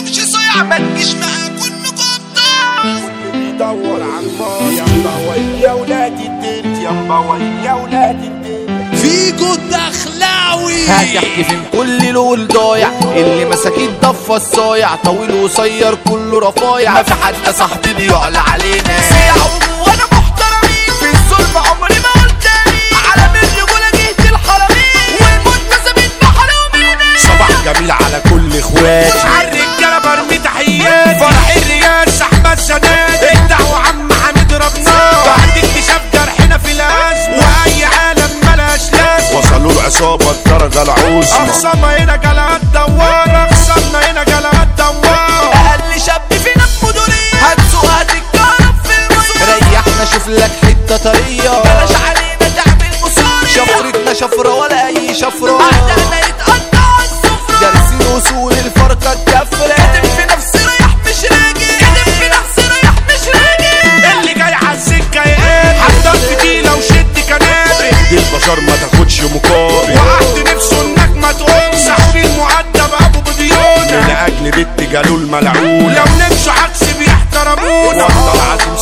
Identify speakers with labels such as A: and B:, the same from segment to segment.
A: ما تجيش معاك النقطة
B: واللي بيدور على الماء يا مبوي يا ولاد الدنيا يا مبوي يا ولاد الدنيا
A: فيجو الدخلاوي
C: هتحكي فين كل لول ضايع اللي مساكين ضفه الصايع طويل وقصير كله رفايع ما في حد يا صاحبي بيعلى علينا
A: سيعوم وانا محترمين في الظلم عمري ما قلت على من رجولة جهة الحرمين والمنتسبين بحرامين
B: صباح جميل على كل اخواتي
A: على الرجالة برمي تحياتي فرح الرياس احمد سناد الدعوة عم حميد ربنا بعد اكتشاف جرحنا في الاس واي عالم ملهاش لاس
B: وصلوا العصابة الدرجة العظمى
A: اخصامنا هنا جالها الدوار اخصامنا هنا جالها الدوار اقل شاب فينا بمدورية هتسوقها تتكهرب في المزور
C: ريحنا شوف لك حته طريه
A: بلاش علينا تعمل مصارية
C: شفرتنا شفره ولا اي شفره
A: اعدائنا يتقطعوا السفرة
C: دارسين وصول الفرقه الكفره
A: ادم في نفسي رايح مش راجع ادم في نفسي رايح مش راجع اللي جاي على السكه يقابل حضر فتيله وشد كنابل
B: دي البشر ما تاخدش مقابل
A: وقعت نفسه انك ما تقومش صاحبي المؤدب ابو بديونه
B: لأجل بنت جالول ملعونة
A: لو نمشوا عكس بيحترمونا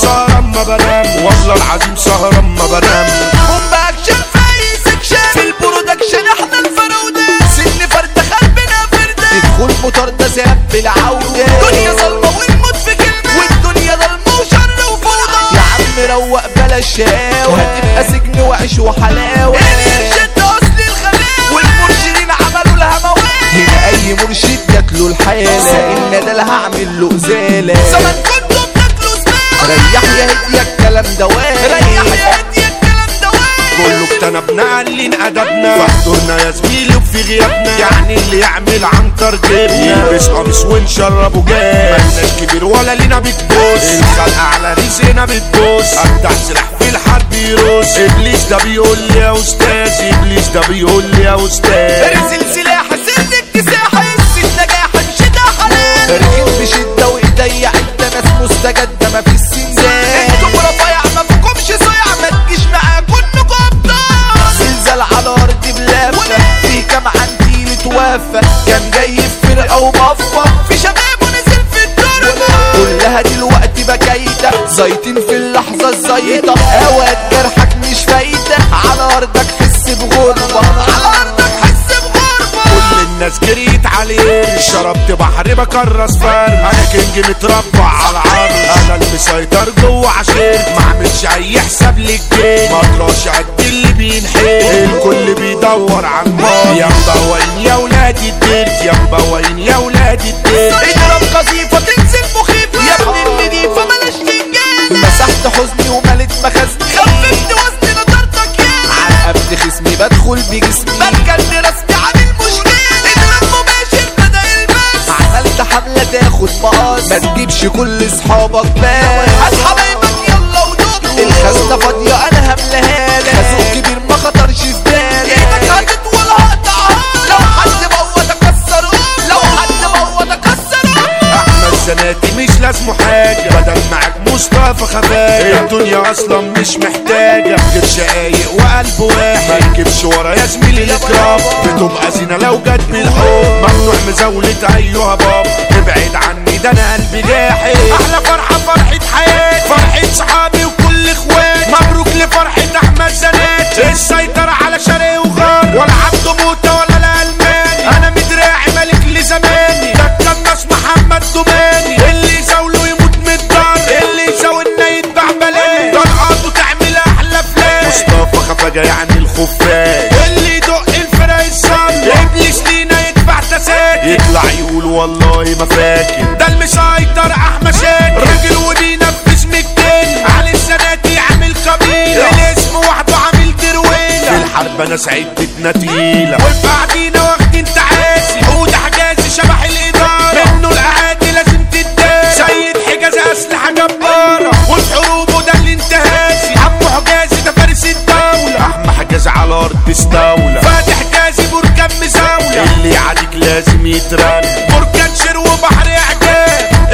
B: والله العظيم سهران ما بنام والله العظيم سهران ما بنام
C: هم باكشن في سكشن في البرودكشن احنا الفروده سن فرد قلبنا فرده تدخل مطار ده زاب بالعوده
A: الدنيا ظلمه والموت في كلمه والدنيا ظلمه وشر
C: يا
A: وفوضى
C: عم روق بلا شاوة هتبقى سجن وعيش وحلاوة
A: الارشاد ده اصل الغلاوه والمرشدين عملوا لها موال
C: هنا أي مرشد جاتله الحالة إن ده اللي هعمل له إزالة
A: زمان كنتوا بتاكلوا زباله
C: ريح يا هدية الكلام ده
A: ريح
C: وارد
A: يا هدي الكلام ده وارد.
B: كله اجتنبنا علين ادبنا فاحضرنا يا زميلي وفي غيابنا يعني اللي يعمل عنتر جبنا يلبس قميص ونشربه جاز مالناش كبير ولا لينا بتبص الخلق على رزقنا بتبص افتح سلاح في الحرب يرص ابليس ده بيقول لي يا استاذ ابليس ده بيقول لي يا استاذ
A: ارسل سلاح سد اكتساح حس النجاح انشدها حلال
C: رجيت بشدة وإيديا حتة ناس مستجدة مفيش سنزال
A: انتوا رفايع ما فيكمش صيع ما تجيش معاكوا انكم ابطال
C: زلزال على أرض بلافة في كام عندي متوفى كان جاي في فرقة ومفة
A: في شباب ونزل في الدرجة
C: كلها دلوقتي بكايدة زيتين في اللحظة الزيطة هواك جرحك مش فايدة على أرضك حس بغربة
A: على ارضك حس بغربة
B: كل الناس جريت عليه شربت بحر بكرس فر انا كينج متربع على العرض انا المسيطر جوه عشير ما عملش اي حساب للجيل ما اطراش قد اللي بينحيل الكل بيدور على الماضي يا مبوين يا ولاد الديرت يا مبوين يا ولاد الديرت
A: اضرب قذيفة تنزل مخيفة يا ابن النجيفة بلاش تنجازة
C: مسحت حزني وملت مخزني
A: خففت وزن نضارتك يا
C: على قبض خصمي بدخل بجسمي
A: مركز رسمي عامل مشكلة اضرب مباشر بدل البس
C: عملت حملة تاخد مقاس ما تجيبش كل صحابك بس
A: اصحى بايبك يلا ودوب
C: الخزنة فاضية أنا هملاها لك خازوق كبير ما خطرش في
A: ايدك
C: بالك
A: هتت ولا هقطعها لو حد بوظ اكسره لو حد بوظ اكسره
B: احمد زناتي مش لازمه حاجه بدل معاك مصطفى خفاجه الدنيا اصلا مش محتاجه غير شقايق وقلب واحد ما تجيبش ورا يا زميلي الاكرام بتبقى زينه لو جت بالحب ممنوع مزاوله ايها باب ابعد عني ده انا قلبي جاحد احلى فرحه فرحه حياتي فرحه صحابي وكل اخواتي مبروك لفرحه احمد زناتي السيطره على شرق وغرب ولا عبده موته ولا الالماني انا مدراعي ملك لزماني ده كان ناس محمد دوماني اللي يزاوله يموت من الضر اللي يزاولنا يتباع بلاش طلقاته تعمل احلى فلاش مصطفى خفاجة يعني الخفاج اللي يدق الفرق الصل ابليس لينا يدفع تساكن يطلع يقول والله ما فاكر ده المسيطر احمد شاكر راجل وبينفذ من الجن علي السناتي عامل قبيله الاسم وحده عامل درويله في الحرب انا سعيد بدنا تقيله وبعدينا واخدين تعاسي حوت حجازي شبح الاداره منه الاعادي لازم تتدارى سيد حجازي اسلحه جباره والحروب وده الانتهاسي عمو حجازي ده فارس الدوله احمى حجازي على ارض استولى فاتح حجازي بركان مزاوله اللي عليك لازم يترن بركان شر وبحر اعجاز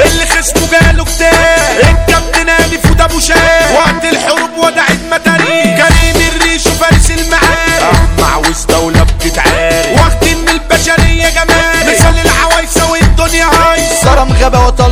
B: اللي خصمه جاله كتاب الكابتن الف وده ابو شاب وقت الحروب ودع المدني كريم الريش وفارس المعارف اجمع وزدوله بتتعارف واخدين من البشريه جمال مثال العوايسه والدنيا هايصه
C: صرم غابة وطن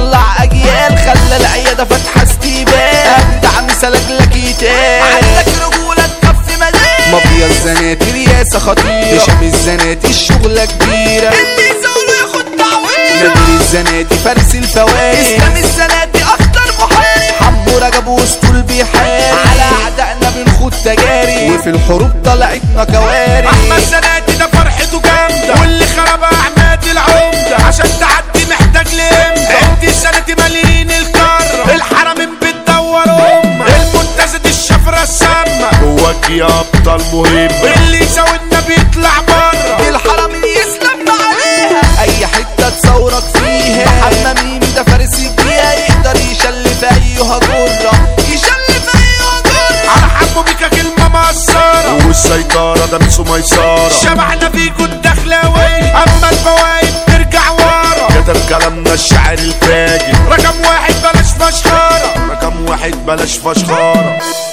C: الرياسة خطيرة تشم الزناتي الشغلة كبيرة
D: يزولوا ياخد تعويض
C: نادر الزناتي فارس الفوائد
D: اسلام الزناتي اخطر محارب
C: حمو رجب واسطول بيحارب على اعدائنا بنخوض تجارب وفي الحروب طلعتنا
B: احمد
C: كوارث
B: سناتي ده فرحته جامده واللي خربها عماد العمده عشان تعدي محتاج لامتى انت سنتي مالين القاره الحرمين بتدور امه المنتزه الشفره السامه
E: جواك يا ابطال مهم
B: اللي يساوي النبي يطلع بره
D: الحرمين يسلمنا عليها
C: اي حتة تصورك فيها محمد ميم ده فارس الدقيقة يقدر يشلف ايها جرة
D: يشلف ايها دول
B: على حبه بيكا كلمه مقصره
E: والسيطرة ده ميسو ميسارة
B: شبعنا بيكوا الدخلاويه اما الفوايد ترجع ورا
E: كتب كلامنا الشعر الفاجر
B: رقم واحد بلاش فشخره
E: رقم واحد بلاش فشخارة